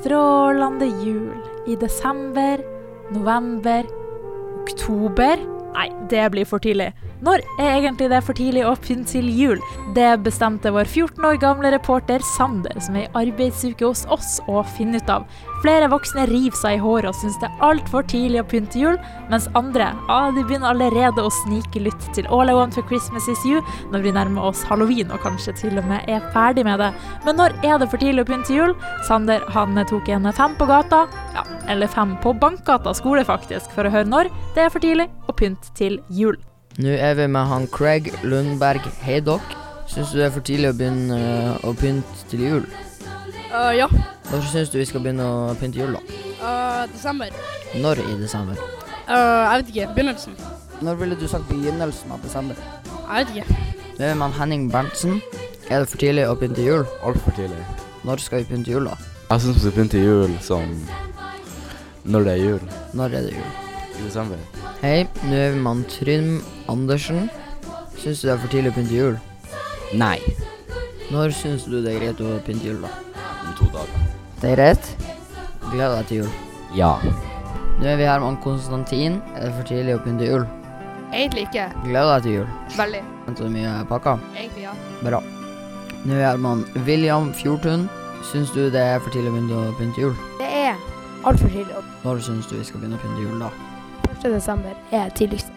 strålende jul i desember, november, oktober Nei, det blir for tidlig. Når er egentlig det for tidlig å pynte til jul? Det bestemte vår 14 år gamle reporter Sander, som er i arbeidsuke hos oss, å finne ut av. Flere voksne river seg i håret og syns det er altfor tidlig å pynte jul, mens andre ah, de begynner allerede å snikelytte til All I Want for Christmas Is You når vi nærmer oss halloween og kanskje til og med er ferdig med det. Men når er det for tidlig å pynte jul? Sander han tok en fem på gata, ja, eller fem på Bankgata skole faktisk, for å høre når det er for tidlig å pynte til jul. Nå er vi med han Craig Lundberg. Hei, dere. Syns du det er for tidlig å begynne eh, å pynte til jul? Øh, ja. Når syns du vi skal begynne å pynte jul, da? Øh, desember. Når i desember? Øh, jeg vet ikke. Begynnelsen. Når ville du sagt begynnelsen av desember? Jeg vet ikke. Nå er vi med han Henning Berntsen. Er det for tidlig å pynte jul? Altfor tidlig. Når skal vi pynte jul, da? Jeg syns vi skal begynne til jul som når det er jul. Når er det jul? I desember. Hei, nå er vi med han Trym Andersen. Syns du det er for tidlig å pynte jul? Nei. Når syns du det er greit å pynte jul, da? Om to dager. Det er greit. Gleder deg til jul. Ja. Nå er vi her med han Konstantin. Er det for tidlig å pynte jul? Egentlig ikke. Gleder deg til jul. Veldig. Venter du mye pakker? Egentlig ja. Bra. Nå er man William Fjortun. Syns du det er for tidlig å begynne å pynte jul? Det er altfor tidlig. Når syns du vi skal begynne å pynte jul, da? 1. desember er tidligst.